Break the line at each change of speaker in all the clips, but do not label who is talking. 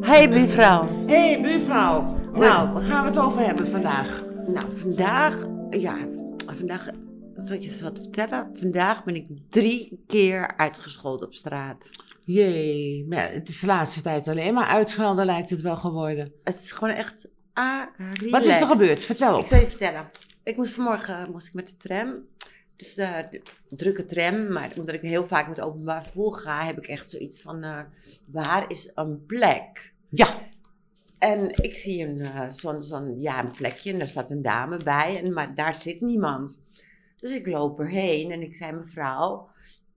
Hey buurvrouw.
Hé, hey, buurvrouw. Nou, waar gaan we het over hebben vandaag?
Nou, vandaag, ja, vandaag, zal ik je eens wat vertellen? Vandaag ben ik drie keer uitgescholden op straat.
Jee, maar het is de laatste tijd alleen maar uitschelden lijkt het wel geworden.
Het is gewoon echt a
Wat is er gebeurd? Vertel
Ik
op.
zal je vertellen. Ik moest vanmorgen moest ik met de tram. Het is eh, de drukke tram, maar omdat ik heel vaak met openbaar vervoer ga, heb ik echt zoiets van, eh, waar is een plek?
Ja,
En ik zie een, eh, zo'n, zo'n, ja, een plekje en daar staat een dame bij, en, maar daar zit niemand. Dus ik loop erheen en ik zei, mevrouw,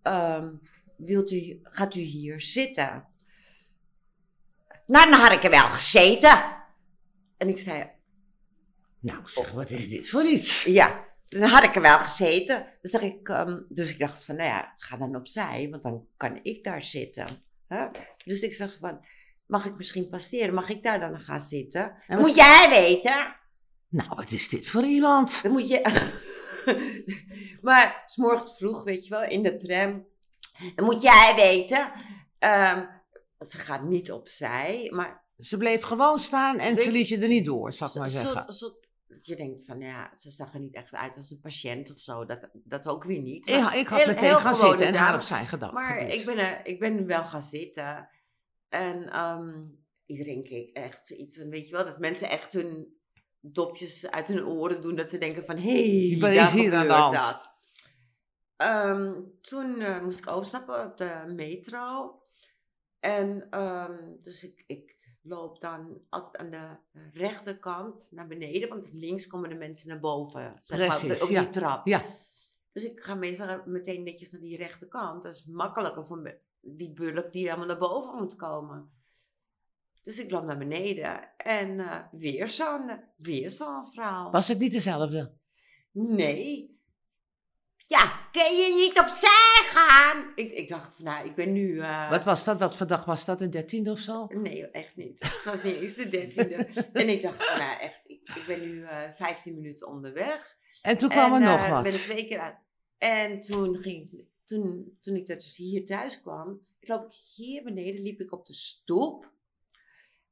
ehm, wilt u, gaat u hier zitten? Nou, dan had ik er wel gezeten. En ik zei,
nou zeg, wat is dit voor iets?
ja, dan had ik er wel gezeten. Dus, dacht ik, ehm, dus ik dacht van, nou ja, ga dan opzij, want dan kan ik daar zitten. Hè? Dus ik zeg van, mag ik misschien passeren? Mag ik daar dan gaan zitten?
En wat-
Moet jij weten?
Nou, wat is dit voor iemand?
Dan moet je... maar s'morgens vroeg, weet je wel, in de tram. Dan moet jij weten. ehm, ze gaat niet opzij, maar...
Ze bleef gewoon staan en ze liet je er niet door, zal ik maar
zo-
zeggen.
zo- zo- je denkt van, nou ja, ze zag er niet echt uit als een patiënt of zo. Dat, dat ook weer niet.
Ik,
Maar
ik had
heel-
meteen
heel
gaan
gewone
zitten en haar
dame.
opzij gedacht.
Maar
geduwd.
ik ben, er- ik ben wel gaan zitten. En ehm, iedereen keek echt zoiets van, weet je wel, dat mensen echt hun dopjes uit hun oren doen. Dat ze denken van, hé, hey,
Wat
daar
is hier aan de
gebeurt
hand?
dat. Ehm, toen eh, moest ik overstappen op de metro. En ehm, dus ik, ik loop dan altijd aan de rechterkant naar beneden, want links komen de mensen naar boven. Zeg maar, op, de-
Precies,
op die
ja.
trap.
Ja.
Dus ik ga meestal meteen netjes naar die rechterkant. Dat is makkelijker voor me- die bulk die helemaal naar boven moet komen. Dus ik loop naar beneden en eh, weer zo'n weer zo'n vrouw.
Was het niet dezelfde?
Nee. Ja, kun je niet opzij gaan? Ik, ik dacht van, nou, ik ben nu... eh,
Wat was dat? Wat voor dag was dat? Een dertiende of zo?
Nee, echt niet. Het was niet eens de dertiende. en ik dacht, van, nou echt, ik, ik ben nu eh 15 minuten onderweg.
En toen kwam
en,
er nog
eh, ben ik
wat.
twee keer uit. En toen ging, toen, toen ik dus hier thuis kwam, loop ik hier beneden, liep ik op de stoep.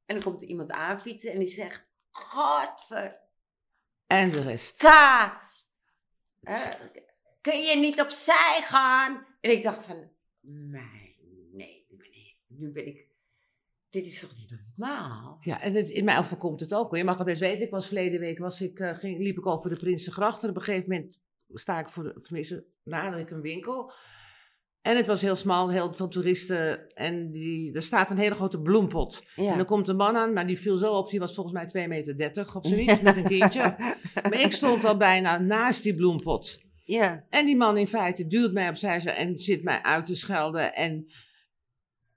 En dan komt er iemand aanfietsen en die zegt, godverka,
En de rest.
eh, kun je niet opzij gaan? En ik dacht van, nee, nee, nu ben ik, nu ben ik dit is toch niet normaal?
Ja, en het, in mij overkomt het ook. hoor. Je mag het best weten, ik was verleden week, was ik, eh, ging, liep ik over de Prinsengracht. En op een gegeven moment sta ik voor, de- tenminste, nader ik een winkel. En het was heel smal, heel veel toeristen. En die, er staat een hele grote bloempot. En
Ja.
dan komt een man aan, maar die viel zo op. Die was volgens mij 2,30 meter of zoiets, met een kindje. Maar ik stond al bijna naast die bloempot.
Ja.
En die man in feite duwt mij opzij zo- en zit mij uit te schelden. En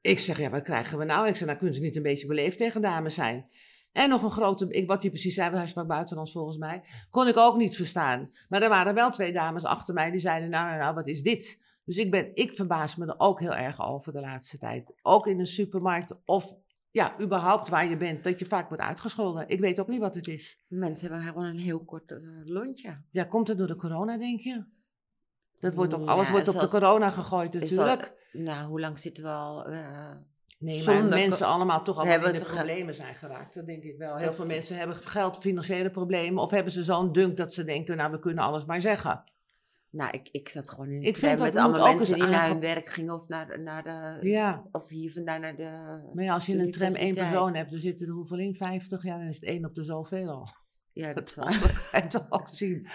ik zeg, ja, wat krijgen we nou? En ik zeg, nou, kunt u niet een beetje beleefd tegen dames zijn? En nog een grote, ik, wat hij precies zei, want hij sprak buitenlands volgens mij, kon ik ook niet verstaan. Maar er waren wel twee dames achter mij die zeiden, nou, nou, nou, wat is dit? Dus ik, ben, ik verbaas me er ook heel erg over de laatste tijd. Ook in een supermarkt of ja, überhaupt waar je bent, dat je vaak wordt uitgescholden. Ik weet ook niet wat het is.
Mensen hebben gewoon een heel kort eh, lontje.
Ja, komt het door de corona, denk je? Dat wordt ook, alles
Mm, Ja,
wordt op
zoals-
de corona gegooid
is al-
natuurlijk.
Nou, hoe lang zitten we al? eh,
Nee, maar
Zonder
mensen
co-
allemaal toch allemaal
hebben
in de
toch-
problemen zijn geraakt. Dat denk ik wel. Heel
Dat
veel
ze-
mensen hebben geld, financiële problemen. Of hebben ze zo'n dunk dat ze denken, nou we kunnen alles maar zeggen.
nou, ik, ik zat gewoon in
Ik
de
vind
tram
dat
met
moet
allemaal
ook
mensen
eens
die naar hun
aange-
werk gingen of, naar, naar de,
Ja,
of hier vandaan naar Eh, de...
maar ja, als je in een tram één
Universiteit.
persoon hebt, dan zitten er hoeveel in? 50? Ja, dan is het één op de zoveel al.
Ja, dat is wel-
En toch ook zien.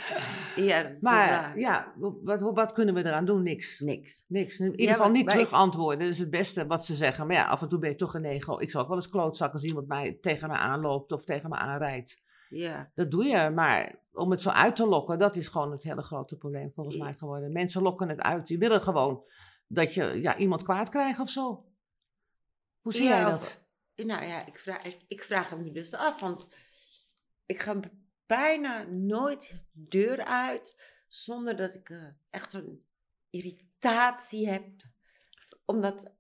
Ja, dat is wel
Maar
waar.
ja, wat, wat kunnen we eraan doen? Niks.
Niks.
Niks. In ieder
Ja,
geval
maar-
niet
maar
terug antwoorden. Dat is het beste wat ze zeggen. Maar ja, af en toe ben je toch een ego. Ik zal ook wel eens klootzakken zien wat mij tegen me aanloopt of tegen me aanrijdt.
Ja.
Dat doe je, maar om het zo uit te lokken, dat is gewoon het hele grote probleem volgens mij geworden. Mensen lokken het uit. Die willen gewoon dat je ja, iemand kwaad krijgt of zo. Hoe zie
Ja,
jij
of-
dat?
Nou ja, ik vraag, ik, ik vraag het me dus af, want ik ga b- bijna nooit deur uit zonder dat ik eh, echt een irritatie heb. Omdat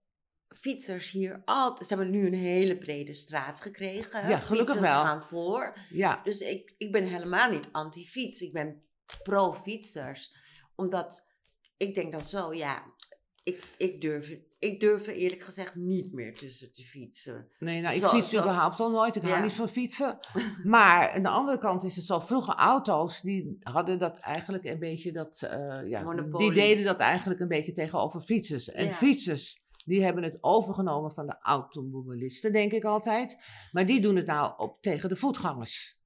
fietsers hier altijd, ze hebben nu een hele brede straat gekregen. hè.
Ja, gelukkig
Fietsers
wel.
gaan voor.
Ja,
Dus ik, ik ben helemaal niet anti-fiets. Ik ben pro-fietsers. Omdat ik denk dan zo, ja, ik, ik, durf, ik durf er eerlijk gezegd niet meer tussen te fietsen.
Nee, nou, ik
Zo-
fiets
zo-
überhaupt al nooit. Ik
Ja.
hou niet van fietsen. Maar aan de andere kant is het zo. Vroeger auto's, die hadden dat eigenlijk een beetje dat... eh, ja,
Monopolie.
die deden dat eigenlijk een beetje tegenover fietsers. En
Ja.
fietsers, die hebben het overgenomen van de automobilisten, denk ik altijd. Maar die doen het nou op, tegen de voetgangers.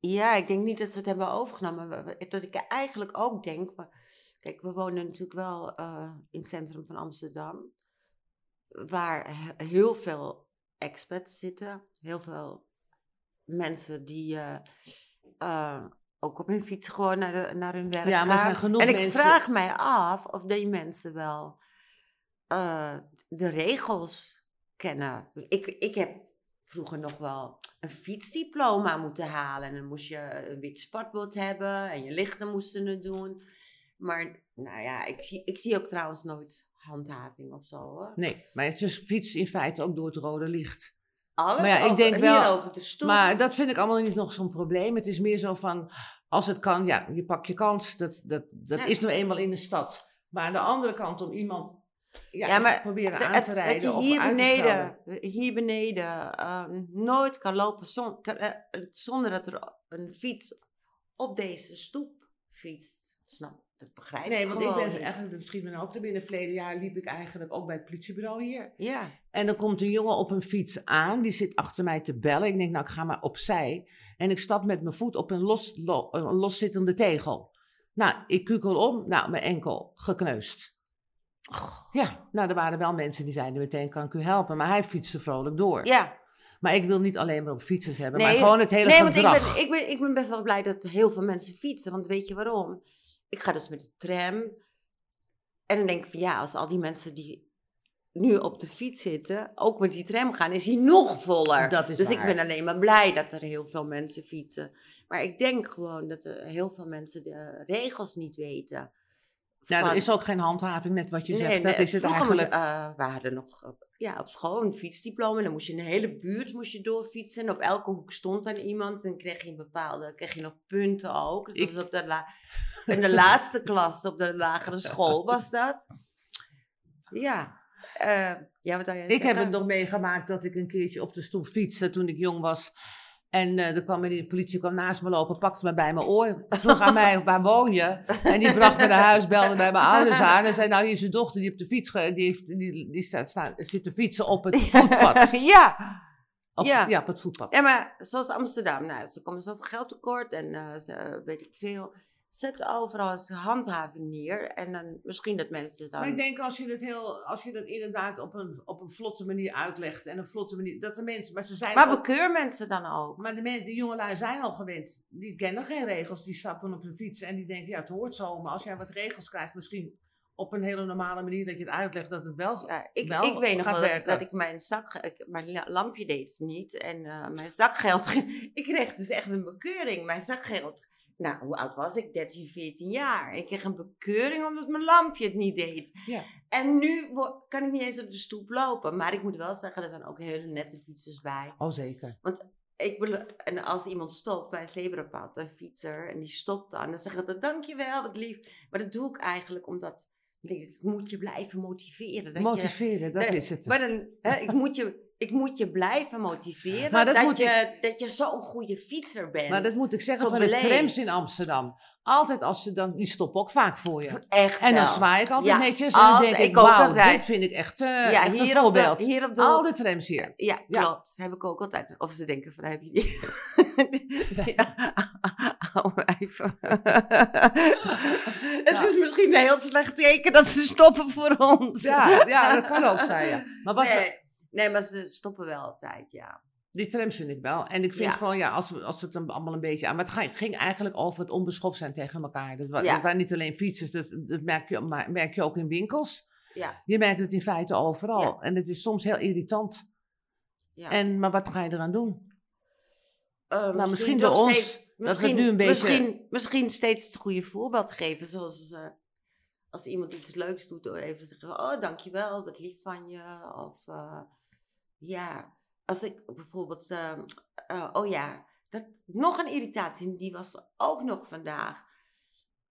Ja, ik denk niet dat ze het hebben overgenomen. maar we- Dat ik eigenlijk ook denk. we- Kijk, we wonen natuurlijk wel eh, in het centrum van Amsterdam. Waar he- heel veel expats zitten. Heel veel mensen die eh, eh, ook op hun fiets gewoon naar, de, naar hun werk
Ja,
gaan.
maar er zijn genoeg
en ik
mensen-
vraag mij af of die mensen wel eh, de regels kennen. Ik, ik heb vroeger nog wel een fietsdiploma moeten halen. En dan moest je een wit spatbord hebben en je lichten moesten het doen. Maar nou ja, ik zie, ik zie ook trouwens nooit handhaving of zo hoor.
Nee, maar het is fiets in feite ook door het rode licht.
Alles
Maar ja, ik
over,
denk
hier
wel-
over de stoel.
Maar dat vind ik allemaal niet nog zo'n probleem. Het is meer zo van, als het kan, ja, je pakt je kans. Dat, dat, dat
Ja.
is nou eenmaal in de stad. Maar aan de andere kant, om iemand ja,
Ja, maar
proberen
Het-
aan te
het- dat
rijden
je
of
hier
uit te
beneden,
schelden.
hier beneden ehm, nooit kan lopen zon- kan, eh, eh, zonder dat er een fiets op deze stoep fietst. Snap, dat begrijp
Nee,
ik
want ik
gewoon
ben
niet.
eigenlijk, dat schiet me nou ook te binnen. Verleden jaar liep ik eigenlijk ook bij het politiebureau hier.
Ja,
En dan komt een jongen op een fiets aan, die zit achter mij te bellen. Ik denk, nou, ik ga maar opzij. En ik stap met mijn voet op een, los, lo- een loszittende tegel. Nou, ik kukel om, nou, mijn enkel gekneusd. Ja, nou, er waren wel mensen die zeiden meteen, kan ik u helpen? Maar hij fietste vrolijk door.
ja.
Maar ik wil niet alleen maar op fietsers hebben,
Nee,
maar gewoon het hele
nee, want ik
gedrag.
ben, ik, ben, ik ben best wel blij dat heel veel mensen fietsen. Want weet je waarom? Ik ga dus met de tram. En dan denk ik van ja, als al die mensen die nu op de fiets zitten, ook met die tram gaan, is hij nog voller.
Dat is
dus
waar.
ik ben alleen maar blij dat er heel veel mensen fietsen. Maar ik denk gewoon dat er heel veel mensen de regels niet weten.
Nou,
Van-
er is ook geen handhaving, net wat je
Nee,
zegt.
nee,
dat is het
vroeger moest-
eigenlijk.
eh, we hadden nog eh, ja, op school een fietsdiploma. En dan moest je in de hele buurt moest je doorfietsen. En op elke hoek stond dan iemand. En kreeg je een bepaalde, kreeg je nog punten ook. Dus dat
Ik-
was op de la- in de laatste klas op de lagere school was dat. Ja. eh, ja, wat wou jij
Ik heb
zeggen?
het nog meegemaakt dat ik een keertje op de stoep fietste toen ik jong was. En eh er kwam meneer de politie kwam naast me lopen, pakte me bij mijn oor, vroeg aan mij waar woon je? En die bracht me naar huis, belde bij mijn ouders aan en zei nou hier is uw dochter die op de fiets, ge- die, heeft, die, die staat, staat, zit te fietsen op het voetpad.
ja.
Of, ja.
Ja.
op het voetpad.
Ja, maar zoals Amsterdam, nou, ze komen zoveel geld tekort en eh, ze, eh, weet ik veel. Zet overal eens handhaving neer en dan misschien dat mensen dan...
Maar ik denk als je het heel, als je dat inderdaad op een, op een vlotte manier uitlegt en een vlotte manier, dat de mensen, maar ze zijn
maar
ook-
bekeur mensen dan ook.
Maar de, men, de jongelui zijn al gewend. Die kennen geen regels. Die stappen op hun fiets en die denken, ja, het hoort zo. Maar als jij wat regels krijgt, misschien op een hele normale manier dat je het uitlegt dat het
Ja,
wel...
Nou, ik,
wel
ik weet nog
gaat
wel dat,
werken.
dat ik mijn zak, ik- mijn la- lampje deed niet en eh, mijn zakgeld. ging- ik kreeg dus echt een bekeuring. Mijn zakgeld. Nou, hoe oud was ik? 13, 14 jaar. En ik kreeg een bekeuring omdat mijn lampje het niet deed.
Ja.
En nu wo- kan ik niet eens op de stoep lopen. Maar ik moet wel zeggen, er zijn ook hele nette fietsers bij.
Oh, zeker.
Ik bedoel, en als iemand stopt bij een zebrapad, een fietser, en die stopt dan, dan zeg ik altijd dankjewel, wat lief. Maar dat doe ik eigenlijk omdat, dan denk ik, ik moet je blijven motiveren. Dat je,
Motiveren, dat
Nee,
is het.
maar dan, hè, ik, moet je, ik moet je blijven motiveren
Maar dat
dat,
moet
je, dat je zo'n goede fietser bent.
Maar dat moet ik zeggen
Zo
van de
beleefd.
trams in Amsterdam. Altijd als ze dan... Die stoppen ook vaak voor je.
Echt
En dan
wel.
zwaai ik altijd
Ja,
netjes. En dan
altijd.
denk ik,
Ik ook
wauw,
altijd.
dit vind ik echt, eh
Ja,
echt
hier
een
op de-
voorbeeld.
hier op de
Al
hoek.
de trams hier.
Ja,
Ja.
klopt. Heb ik ook altijd. Of ze denken van, heb je die... Hou maar even. Het
Nou.
is misschien een heel slecht teken dat ze stoppen voor ons.
Ja, ja, dat kan ook zijn, ja. Maar wat, we-
nee. nee, maar ze stoppen wel altijd, ja.
Die trams vind ik wel. En ik
Ja.
vind gewoon, ja, als, we- als het dan allemaal een beetje aan. Maar het ga- ging eigenlijk over het onbeschoft zijn tegen elkaar. Dat, wa-
Ja.
dat waren niet alleen fietsers, dat, dat merk, je, maar- merk je ook in winkels.
Ja.
Je merkt het in feite overal.
Ja.
En het is soms heel irritant.
ja.
En, maar wat ga je eraan doen?
Eh,
nou, misschien door
toch
ons.
steeds-
dat we het nu een beetje-
Misschien, misschien steeds het goede voorbeeld geven. Zoals eh, als iemand iets leuks doet, door even te zeggen: Oh, dankjewel, dat lief van je. Of eh, ja, als ik bijvoorbeeld, eh, eh, oh ja, dat, nog een irritatie, die was ook nog vandaag.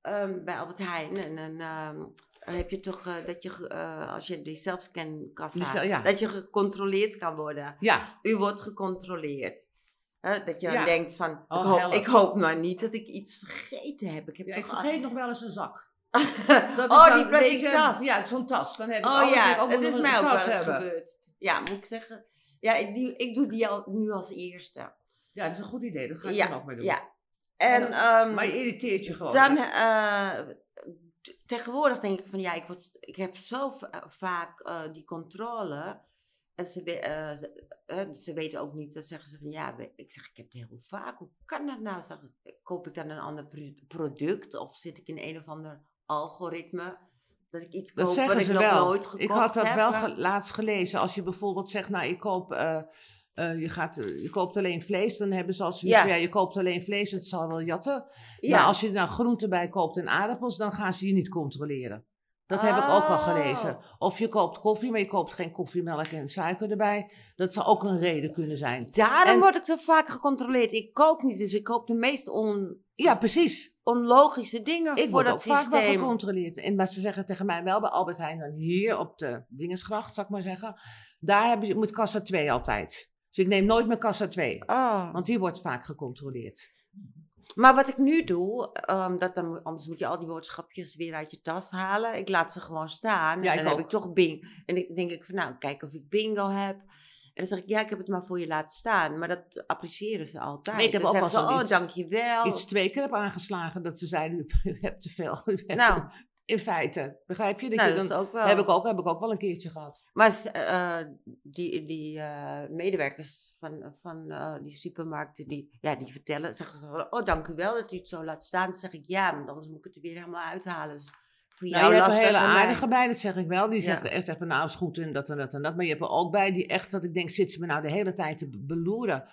ehm, bij Albert Heijn en een ehm, heb je toch eh, dat je, ge- eh, als je die zelfscankassa,
Die zelf- ja.
dat je gecontroleerd kan worden.
Ja,
U wordt gecontroleerd. Eh, dat je
Ja.
denkt van, ik,
Oh,
hoop,
help.
ik hoop maar niet dat ik iets vergeten heb. Ik heb
ja ik
toch al-
vergeet nog wel eens een zak. Dat
oh,
dan
die
een
plastic
beetje-
tas.
Ja, zo'n tas. Dan heb ik
Oh
alles, ik
ja,
ook
dat
nog
is
een
mij ook wel
tas
eens
hebben.
gebeurd. Ja, moet ik zeggen. Ja, ik, doe- ik doe die al, nu als eerste.
Ja, dat is een goed idee. Dat ga ik
ja,
dan ook mee doen.
ja. En,
En
ehm,
Maar je irriteert je gewoon.
dan,
hè?
eh, t- tegenwoordig denk ik van ja, ik, word, ik heb zo va- vaak eh, die controle. En ze, we- eh, ze- eh, ze weten ook niet, dan zeggen ze van ja, we- ik zeg ik heb het heel vaak. Hoe kan dat nou? Zeg, ik, koop ik dan een ander pro- product of zit ik in een of ander algoritme dat ik iets
Dat
koop wat
zeggen
ik
ze
nog
wel.
nooit gekocht
ik had dat
heb?
wel
maar-
ge- laatst gelezen. Als je bijvoorbeeld zegt, nou, ik koop, eh, eh, je, gaat, eh, je koopt alleen vlees. Dan hebben ze al zoiets
Ja.
van, ja, je koopt alleen vlees. Het zal wel jatten.
Ja.
Maar als je nou groenten bij koopt en aardappels, dan gaan ze je niet controleren. Dat heb ik ook al gelezen.
Oh.
Of je koopt koffie, maar je koopt geen koffiemelk en suiker erbij. Dat zou ook een reden kunnen zijn.
Daarom
En-
word ik zo vaak gecontroleerd. Ik koop niet, dus ik koop de meest on,
Ja, precies.
onlogische dingen
Ik
voor
word
dat
ook vaak wel
systeem.
gecontroleerd. En, maar ze zeggen tegen mij wel bij Albert Heijn, dan hier op de Dingensgracht, zal ik maar zeggen. Daar heb je, moet kassa 2 altijd. Dus ik neem nooit mijn kassa 2.
Ah.
Want die wordt vaak gecontroleerd.
Maar wat ik nu doe, ehm, dat dan, anders moet je al die boodschapjes weer uit je tas halen. Ik laat ze gewoon staan.
Ja,
en
ik
dan heb
ook.
ik toch bing. En ik denk ik van nou, kijk of ik bingo heb. En dan zeg ik, ja, ik heb het maar voor je laten staan. Maar dat appreciëren ze altijd.
Nee, ik heb
dan
ook
zeggen
wel
ze, oh,
zoiets.
dankjewel.
Iets twee keer heb aangeslagen dat ze zeiden, u, u hebt te veel. U hebt-
Nou,
In feite, begrijp je? Dat
nou
je
dat
dan,
is ook wel.
heb, ik ook, heb ik ook wel een keertje gehad.
Maar s- eh, die, die eh, medewerkers van, van eh, die supermarkten, die, ja, die vertellen, zeggen ze van, oh dank u wel dat u het zo laat staan. Dan zeg ik, ja, want anders moet ik het er weer helemaal uithalen. Dus voor
Nou,
jou
je hebt
lastig
een hele
en mij-
aardige bij, dat zeg ik wel. Die
Ja.
zegt echt even, nou is goed en dat en dat en dat. Maar je hebt er ook bij die echt, dat ik denk, zit ze me nou de hele tijd te beloeren?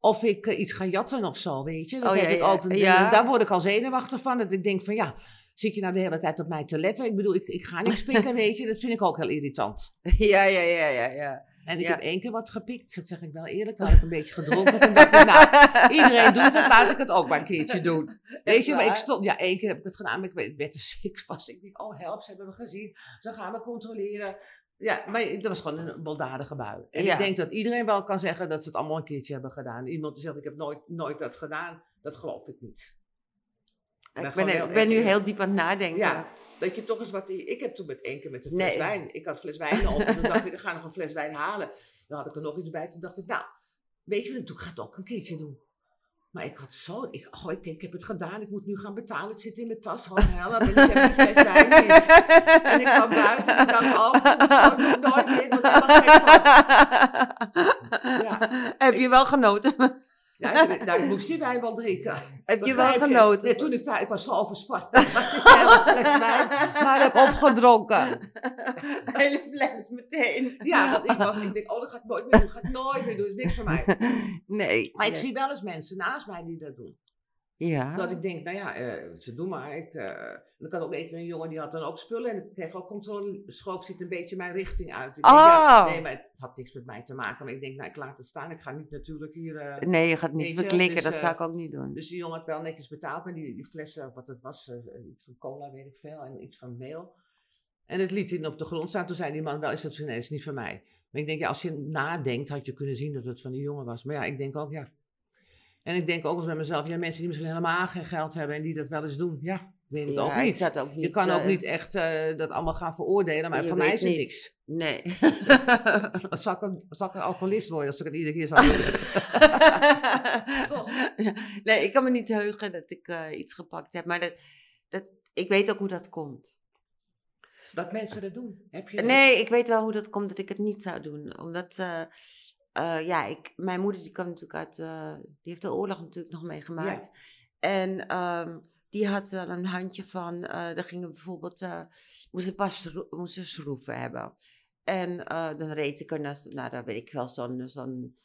Of ik eh, iets ga jatten of zo, weet je? Dat
Oh,
heb
ja,
ik
ja.
ook. Dan-
Ja.
Daar word ik al zenuwachtig van. Dat ik denk van, ja, zit je nou de hele tijd op mij te letten? Ik bedoel, ik, ik ga niks pikken, weet je? Dat vind ik ook heel irritant.
Ja, ja, ja, ja, ja.
En ik
Ja.
heb één keer wat gepikt, dat zeg ik wel eerlijk. Had ik een beetje gedronken. Toen dacht ik, nou, Iedereen doet het, laat ik het ook maar een keertje doen. Weet je, maar ik
waar?
stond, ja, één keer heb ik het gedaan, maar ik werd- werd er ziek vast. Ik denk, oh help, ze hebben me gezien, ze gaan me controleren. Ja, maar dat was gewoon een baldadige bui. En
Ja.
ik denk dat iedereen wel kan zeggen dat ze het allemaal een keertje hebben gedaan. Iemand die zegt, ik heb nooit, nooit dat gedaan, dat geloof ik niet.
Ik
gewoon
ben,
heel
ik ben nu
erg-
heel diep aan het nadenken.
Ja. Dat je toch eens wat... Ik heb toen met één keer met een fles
Nee.
wijn... Ik had fles wijn op en toen dacht ik, ik ga nog een fles wijn halen. Dan had ik er nog iets bij. Toen dacht ik, nou, weet je wat, ik ga het ook een keertje doen. Maar ik had zo... Ik, oh, ik denk, ik heb het gedaan. Ik moet nu gaan betalen. Het zit in mijn tas. Oh, hel, en ik heb die fles wijn niet. En ik kwam buiten en ik dacht, oh, ik doe het zo doe ik nooit meer. Ik word helemaal gek van.
Heb je wel genoten?
Ja, ik, nou, ik moest die wijn wel drinken.
Heb je wel
Begrijp
genoten?
Nee, toen ik daar... Ik was zo overspannen. Ik had een fles wijn, maar heb opgedronken.
Hele fles meteen.
Ja, want ik was, ik denk, oh, dat ga ik nooit meer doen, ga ik nooit meer doen, is niks voor mij.
Nee.
Maar
Nee.
ik
Ah.
zie wel eens mensen naast mij die dat doen.
Ja.
Dat ik denk, nou ja, eh, ze doen maar. Ik, eh ik had ook één keer een jongen die had dan ook spullen en ik kreeg ook controle, schoof zit een beetje mijn richting uit. Ik denk, ja,
Oh.
nee, maar het had niks met mij te maken. Maar ik denk, nou, ik laat het staan, ik ga niet natuurlijk hier... eh,
Nee, je gaat niet
Weet je,
verklikken.
dus,
dat
eh,
zou ik ook niet doen.
dus die jongen had wel netjes betaald, maar die, die flessen, wat het was, eh, iets van cola, weet ik veel, en iets van meel. En het liet hij op de grond staan. Toen zei die man, wel is dat zo, nee, dat is niet van mij. Maar ik denk, ja, als je nadenkt, had je kunnen zien dat het van die jongen was. Maar ja, ik denk ook, ja. En ik denk ook eens bij mezelf, ja, mensen die misschien helemaal geen geld hebben en die dat wel eens doen, ja, ik weet het
Ja,
ook
ik
niet.
zou het ook niet.
Je kan ook
eh,
niet echt eh, dat allemaal gaan veroordelen, maar
je
voor mij
weet
is het
niet.
niks.
Nee.
Wat Zal ik, een, zal ik een alcoholist worden als ik het iedere keer zou doen? Toch?
Nee, ik kan me niet heugen dat ik eh, iets gepakt heb. Maar dat, dat, ik weet ook hoe dat komt.
Dat mensen dat doen. Heb je
Nee, ik weet wel hoe dat komt dat ik het niet zou doen. Omdat, eh, eh, ja, ik, mijn moeder die kwam natuurlijk uit, eh, die heeft de oorlog natuurlijk nog meegemaakt. En ehm, die had wel een handje van, eh daar gingen bijvoorbeeld, eh moest een paar schro- moest een schroeven hebben. En eh, dan reed ik er naar, nou, daar weet ik wel, zo'n, zo'n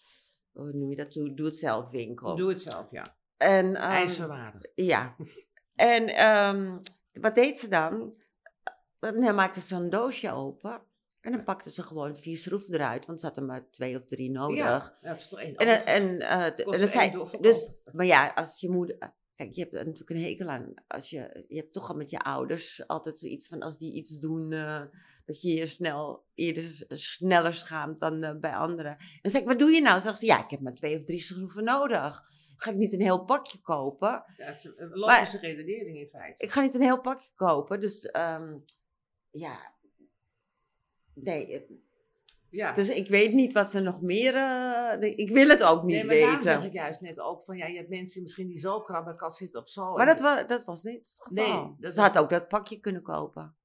hoe noem je dat, doe, doe het zelf winkel.
Doe het zelf, ja.
en, ehm,
IJzerwaardig.
ja. En ehm, wat deed ze dan? Dan maakte ze een doosje open. En dan pakte ze gewoon vier schroeven eruit, want ze had er maar twee of drie nodig.
Ja, dat is toch één.
En, en, eh,
Kost
dan
er
zei,
één door verkopen.
dus, maar ja, als je moeder, Kijk, je hebt er natuurlijk een hekel aan. Als je, je hebt toch al met je ouders altijd zoiets van als die iets doen, eh, dat je je snel, eerder sneller schaamt dan eh, bij anderen. En dan zeg ik, wat doe je nou? Zeggen ze, ja, ik heb maar twee of drie schroeven nodig. Ga ik niet een heel pakje kopen?
Ja, het is een
logische
redenering in feite.
Ik ga niet een heel pakje kopen, dus ehm, ja. Nee, eh,
ja.
dus ik weet niet wat ze nog meer. eh, nee, ik wil het ook niet
nee, maar daarom
weten.
zeg ik juist net ook van, ja, je hebt mensen misschien die zo krabben kan zitten op zo.
Maar dat, wa- dat was niet het geval.
Oh, Nee, dat
ze
was-
had ook dat pakje kunnen kopen.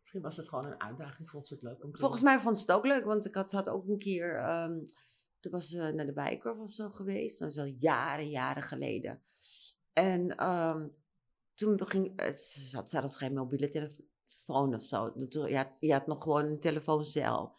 Misschien was het gewoon een uitdaging, vond ze het leuk om te doen.
Volgens mij vond ze het ook leuk, want ik had, ze had ook een keer, ehm, toen was ze naar de Bijenkorf of zo geweest, dat is al jaren, jaren geleden. En ehm, toen beging, eh, ze had zelf geen mobiele telefoon of zo, Dat- je had, je had nog gewoon een telefooncel.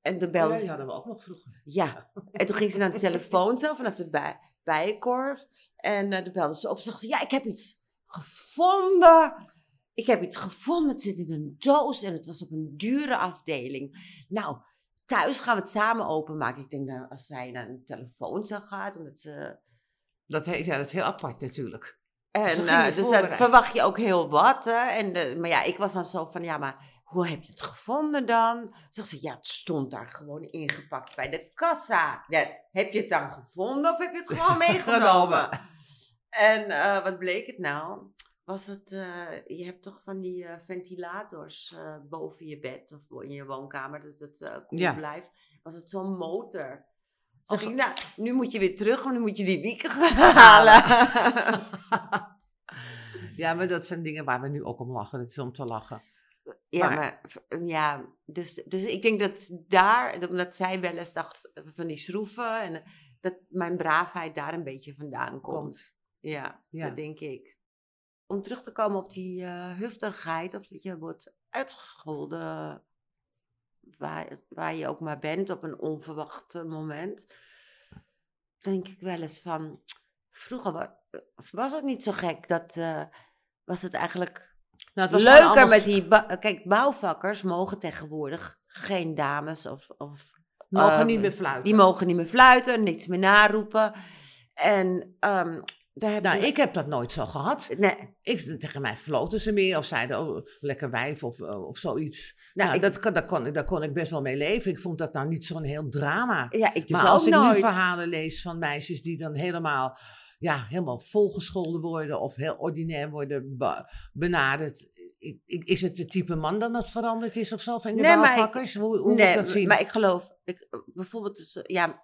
En toen
Oh
belde
ja,
ze-
die hadden we ook nog vroeger.
ja, en toen ging ze naar de telefoon zelf vanaf de bij, bijenkorf. En eh, toen belde ze op en zegt ze, ja, ik heb iets gevonden. Ik heb iets gevonden, het zit in een doos en het was op een dure afdeling. Nou, thuis gaan we het samen openmaken. Ik denk, nou, als zij naar een telefooncel gaat, omdat ze...
Dat, he- ja, dat is heel apart natuurlijk.
En,
ging
eh,
je
dus dan
voorbereiden.
verwacht je ook heel wat. Hè? En, eh, maar ja, ik was dan zo van, ja, maar hoe heb je het gevonden dan? Zegt ze, ja, het stond daar gewoon ingepakt bij de kassa. Ja, heb je het dan gevonden of heb je het gewoon meegenomen?
Genomen.
en eh, wat bleek het nou? Was het, eh, je hebt toch van die eh, ventilators eh, boven je bed of in je woonkamer, dat het eh koel
Ja.
blijft. Was het zo'n motor?
Of-
Zeg ik, nou, nu moet je weer terug, want nu moet je die wieken gaan halen.
Ja, maar dat zijn dingen waar we nu ook om lachen. Het is om te lachen.
Ja,
Maar-
maar, v- ja dus, dus ik denk dat daar, omdat zij wel eens dacht eh, van die schroeven, en eh, dat mijn braafheid daar een beetje vandaan komt. Ja,
Ja.
dat denk ik. Om terug te komen op die eh, hufterigheid, of dat je wordt uitgescholden waar, waar je ook maar bent op een onverwacht eh, moment, denk ik wel eens van, vroeger wa- eh, was het niet zo gek dat, eh, was het eigenlijk
Nou, het was gewoon
leuker
allemaal-
met die... ba- Kijk, bouwvakkers mogen tegenwoordig geen dames of... of
Mogen
ehm,
niet meer fluiten.
Die mogen niet meer fluiten, niks meer naroepen. En ehm daar heb
Nou,
je-
ik heb dat nooit zo gehad.
Nee,
Ik, tegen mij floten ze meer of zeiden, oh, lekker wijf of, eh, of zoiets.
nou,
Nou,
ik,
dat, kan- daar, kon, ik- daar kon ik best wel mee leven. Ik vond dat nou niet zo'n heel drama.
ja, ik dus
maar als
ook
ik
nooit.
nu verhalen lees van meisjes die dan helemaal, ja, helemaal volgescholden worden of heel ordinair worden be- benaderd. Ik, ik, is het het type man dan dat veranderd is of zo? Van de
Nee, maar ik-
bouwvakkers? Hoe, hoe
nee,
moet ik dat zien?
maar ik geloof, ik, eh, bijvoorbeeld, dus, eh, ja,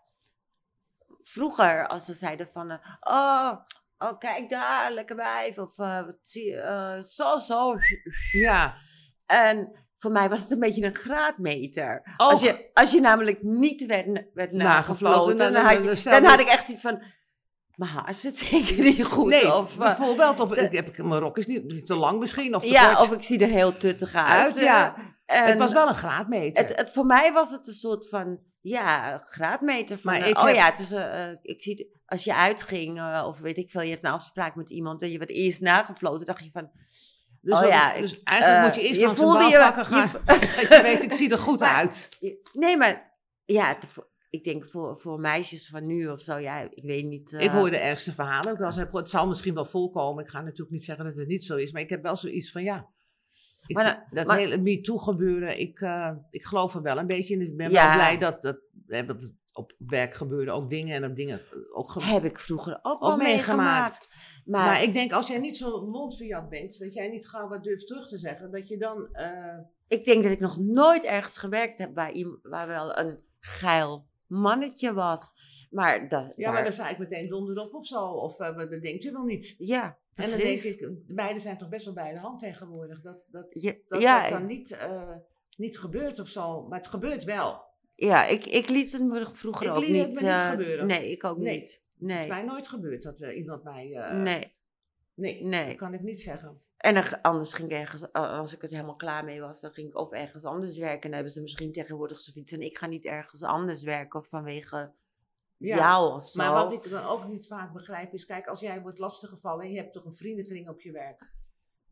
vroeger als ze zeiden van, eh, oh, oh, kijk daar, lekker wijf, of eh, wat zie je, eh, zo, zo.
Ja,
En voor mij was het een beetje een graadmeter.
Ook.
Als je, als je namelijk niet werd, werd nagefloten,
Nagefloten,
dan,
nou, dan-
had,
dan- dan
je,
stel
dan
je-
had ik echt iets van... Mijn haar zit zeker niet goed.
nee,
of, eh,
bijvoorbeeld, of ik, heb, ik- mijn rok is niet te lang misschien, of te
ja,
kort.
of ik zie er heel tuttig uit.
Uit,
eh,
ja.
en
het was wel een graadmeter.
het, het- voor mij was het een soort van... Ja, een graadmeter van...
Maar
eh,
ik
oh
heb-
ja, het is, eh, eh, ik zie... de- Als je uitging eh, of weet ik veel, je had een afspraak met iemand... en je werd eerst nagefloten, dacht je van...
dus,
oh
dan-
ja,
dus
ik-
eigenlijk
eh,
moet je eerst
je
langs een
voelde je-
bouwvakker
je
gaan. dat je weet, ik zie er goed
Maar-
uit.
Nee, maar ja, het- voor- ik denk voor, voor meisjes van nu of zo, ja, ik weet niet. eh,
Ik hoor de ergste verhalen. ook wel eens. Het zal misschien wel volkomen. Ik ga natuurlijk niet zeggen dat het niet zo is. Maar ik heb wel zoiets van ja. Ik,
Maar
vind
dan-
dat
maar-
hele MeToo gebeuren. Ik, eh, ik geloof er wel een beetje in. Ik ben
Ja.
wel blij dat, dat, hè, dat het op werk gebeuren ook dingen. En op dingen ook gebeuren.
Heb ik vroeger ook, wel meegemaakt.
meegemaakt.
Maar,
Maar, ik denk als jij niet zo mondverjat bent. Dat jij niet gauw wat durft terug te zeggen. Dat je dan... eh,
ik denk dat ik nog nooit ergens gewerkt heb waar, iem- waar wel een geil mannetje was. Maar dat.
ja, maar
daar-
dan zei ik meteen donderop of zo. Of eh, wat bedenkt u wel niet.
ja,
En dan denk
precies.
ik, beide zijn toch best wel bij de hand tegenwoordig. Dat, dat,
Je-
dat
ja,
dat
ik-
dan niet, eh, niet gebeurt of zo. Maar het gebeurt wel.
ja ik, ik liet het me vroeger
Ik
ook
liet het
niet.
me niet
eh,
gebeuren.
Nee, ik ook
Nee.
niet. Nee.
Het is mij nooit gebeurd dat eh, iemand mij... eh,
nee,
nee,
nee.
dat kan ik niet zeggen.
En dan g- anders ging ik ergens, a- als ik het helemaal klaar mee was, dan ging ik of ergens anders werken. En dan hebben ze misschien tegenwoordig zoiets van, ik ga niet ergens anders werken of vanwege
Ja.
jou of zo.
Maar wat ik dan ook niet vaak begrijp is... Kijk, als jij wordt lastiggevallen en je hebt toch een vriendenkring op je werk.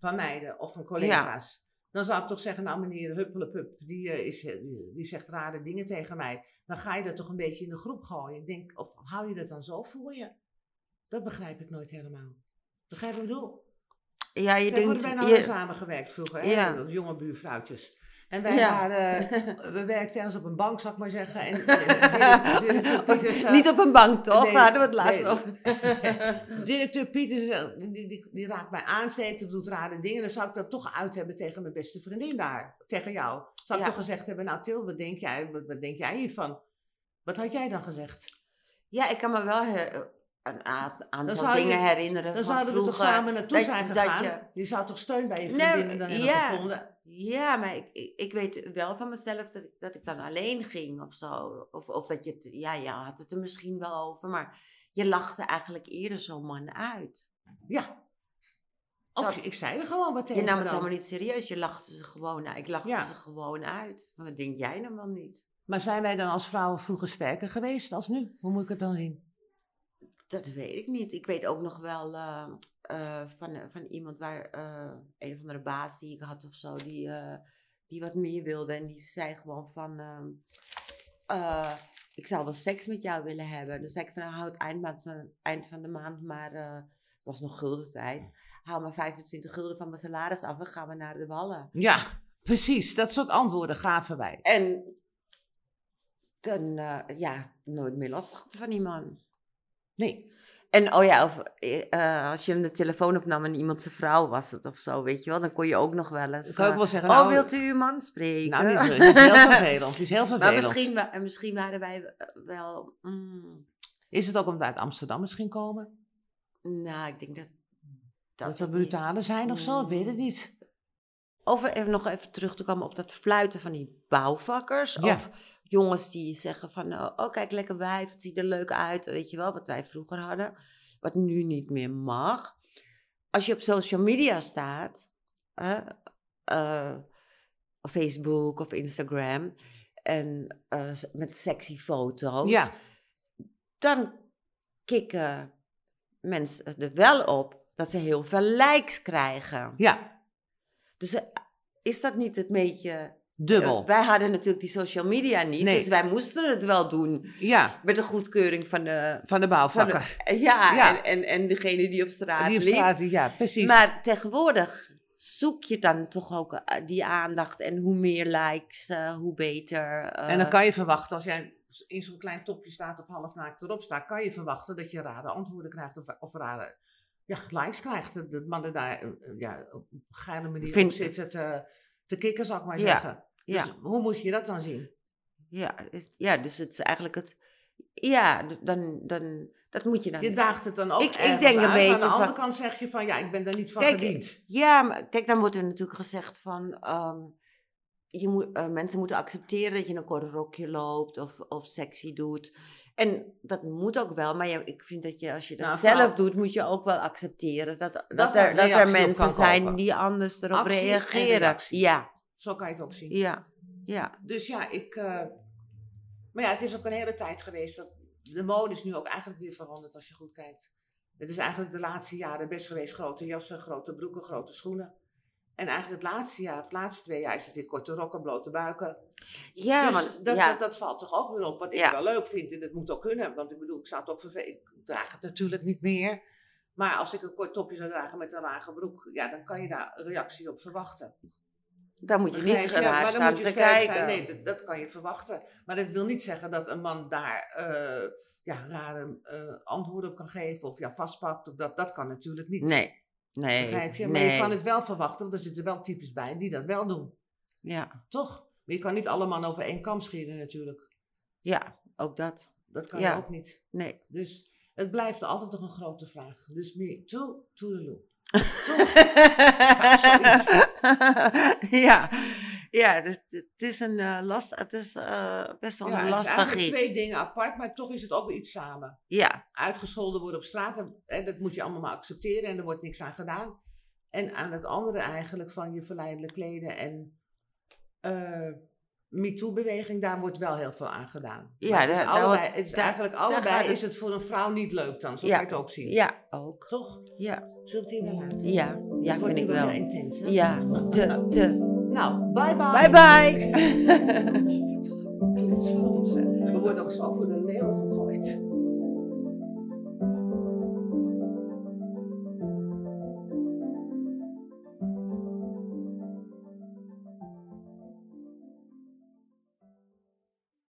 Van meiden of van collega's. Dan zou ik toch zeggen, nou meneer Huppelepup, die, eh, is, eh, die, die zegt rare dingen tegen mij. Dan ga je dat toch een beetje in de groep gooien. Ik denk, of hou je dat dan zo voor je? Dat begrijp ik nooit helemaal. Begrijp je wat ik bedoel?
Ja, je
Ze
denkt...
hebben
je-
bijna samengewerkt vroeger, hè?
Ja.
dat jonge buurvrouwtjes. En wij
Ja.
waren, we werkten ergens op een bank, zal ik maar zeggen. En, eh, directeur Pieters, eh,
Niet op een bank, toch?
nee,
Daar hadden we het laatst
nee.
over.
directeur Pieters, eh, die, die, die raakt mij aansteekt of doet rare dingen. Dan zou ik dat toch uit hebben tegen mijn beste vriendin daar, tegen jou. Zou ik
Ja.
toch gezegd hebben, nou Til, wat denk jij, wat, wat denk jij hiervan? Wat had jij dan gezegd?
Ja, ik kan me wel her- een a- aantal
zou je-
dingen herinneren
Dan
van
zouden we toch
vroeger.
samen naartoe
dat-
zijn
dat
gegaan.
je-
je... zou toch steun bij je
Nee,
vriendinnen dan hebben
ja.
gevonden?
Ja, maar ik, ik, ik weet wel van mezelf dat ik, dat ik dan alleen ging of zo. Of, of dat je, het- ja, je had het er misschien wel over, maar je lachte eigenlijk eerder zo'n man uit.
Ja. Of
Dat-
ik zei er gewoon wat tegen
Je nam het
dan.
allemaal niet serieus, je lachte ze gewoon uit. Ik lachte
Ja.
ze gewoon uit. Van, Wat denk jij dan wel niet?
Maar zijn wij dan als vrouwen vroeger sterker geweest als nu? Hoe moet ik het dan zien?
Dat weet ik niet. Ik weet ook nog wel eh, eh, van, van iemand waar eh, een of andere baas die ik had of zo, die, eh, die wat meer wilde. En die zei gewoon van. ehm, eh, ik zou wel seks met jou willen hebben. Dus zei ik van nou, hou het eind maand van, eind van de maand, maar eh, het was nog gulden tijd. Haal maar 25 gulden van mijn salaris af en gaan we naar de wallen.
Ja, precies. Dat soort antwoorden gaven wij.
En dan, eh, ja, nooit meer last gehad van die man.
Nee.
En oh ja, of, eh, eh, als je de telefoon opnam en iemand zijn vrouw was het of zo, weet je wel, dan kon je ook nog wel eens.
Dat kan ik
eh,
wel zeggen.
oh,
nou,
wilt u uw man spreken?
Nou, niet, het is heel vervelend. Het is heel vervelend.
maar misschien, wa- en misschien waren wij eh, wel. mm,
Is het ook omdat we uit Amsterdam misschien komen?
nou, ik denk dat.
Dat,
het
we brutaler zijn of zo? Ik weet het niet.
Over even, nog even terug te komen op dat fluiten van die bouwvakkers.
Ja.
Of jongens die zeggen van, eh, oh kijk, lekker wijf, het ziet er leuk uit. Weet je wel, wat wij vroeger hadden. Wat nu niet meer mag. Als je op social media staat, hè, eh, op Facebook of Instagram, en eh, met sexy foto's,
Ja.
dan kikken mensen er wel op dat ze heel veel likes krijgen.
Ja,
Dus eh, is dat niet het beetje.
dubbel.
Eh, Wij hadden natuurlijk die social media niet,
Nee.
dus wij moesten het wel doen.
Ja,
Met de goedkeuring van de.
van de
Van de
bouwvakker.
ja, En,
Ja.
en, en degene die op straat
die op
liep.
straat, ja, precies.
Maar tegenwoordig zoek je dan toch ook eh, die aandacht. En hoe meer likes, eh, hoe beter. eh.
en dan kan je verwachten, als jij in zo'n klein topje staat of half naakt erop staat, kan je verwachten dat je rare antwoorden krijgt of, of rare ja, likes krijgt. Dat dat mannen daar eh, ja, op een geile manier
Vind-
op zitten te, te kikken, zal ik maar
Ja,
zeggen.
ja.
Dus hoe moet je dat dan zien?
ja, is- ja, dus het is eigenlijk het. Ja, d- dan, dan, dat moet je dan.
Je daagt het dan ook
Ik- ik
ergens
denk een
uit.
beetje
Aan de
van-
andere kant zeg je van, ja, ik ben daar niet van
Kijk,
gediend.
Ja, maar kijk, dan wordt er natuurlijk gezegd van... ehm, je moet, eh, mensen moeten accepteren dat je in een kort rokje loopt of, of sexy doet. En dat moet ook wel, maar ja, ik vind dat je als je dat
Nou,
zelf
vooral-
doet, moet je ook wel accepteren dat, dat,
Dat er
er, dat er
reactie op
mensen
kan
zijn
komen.
die anders erop
Actie en
reageren.
reactie.
Ja,
Zo kan je het ook zien.
ja, ja.
Dus ja, ik... eh, maar ja, het is ook een hele tijd geweest dat... De mode is nu ook eigenlijk weer veranderd als je goed kijkt. Het is eigenlijk de laatste jaren best geweest grote jassen, grote broeken, grote schoenen. En eigenlijk het laatste jaar, het laatste twee jaar is het weer korte rokken, blote buiken.
Ja,
dus
want-
dat,
ja.
dat, dat valt toch ook weer op. Wat ik
Ja.
wel leuk vind, en dat moet ook kunnen. Want ik bedoel, ik zou het ook vervelen. Ik draag het natuurlijk niet meer. Maar als ik een kort topje zou dragen met een lage broek, ja, dan kan je daar een reactie op verwachten.
daar moet je niet
Begrijp je?
raar
Maar dan
staan
moet je
te
sterk
kijken.
Zijn. Nee, dat, dat kan je verwachten. Maar dat wil niet zeggen dat een man daar eh, ja, rare eh, antwoorden op kan geven of jou vastpakt. Of dat, dat kan natuurlijk niet.
nee, nee.
Begrijp je? Maar
nee.
je kan het wel verwachten, want er zitten wel types bij die dat wel doen.
ja.
Toch? Maar je kan niet alle mannen over één kam scheren natuurlijk.
ja, ook dat.
Dat kan
Ja.
ook niet.
Nee.
Dus het blijft altijd nog een grote vraag. Dus meer to, to the loo. zoiets.
ja, ja het, is- het is, een, eh, last, het is eh, best wel
Ja,
een
het is
lastig
eigenlijk
iets.
twee dingen apart, maar toch is het ook weer iets samen.
Ja,
uitgescholden worden op straat. En, hè, dat moet je allemaal maar accepteren en er wordt niks aan gedaan. En aan het andere eigenlijk van je verleidelijk kleden en eh MeToo-beweging, daar wordt wel heel veel aan gedaan.
Ja,
Maar het is,
daar- daar
allebei,
wordt-
het is
daar-
eigenlijk
daar gaat
allebei
het-
is het voor een vrouw niet leuk dan, zo
Ja.
kan je het ook zien.
ja, ook.
Toch?
Ja,
Zullen we het hierbij laten?
ja, ja
Het
vind
wordt nu
ik wel.
heel intens, hè?
Ja, te, te.
Nou, bye bye.
Bye bye!
Wat een geklets van ons, hè. We worden ook zo voor de leeuw gegooid.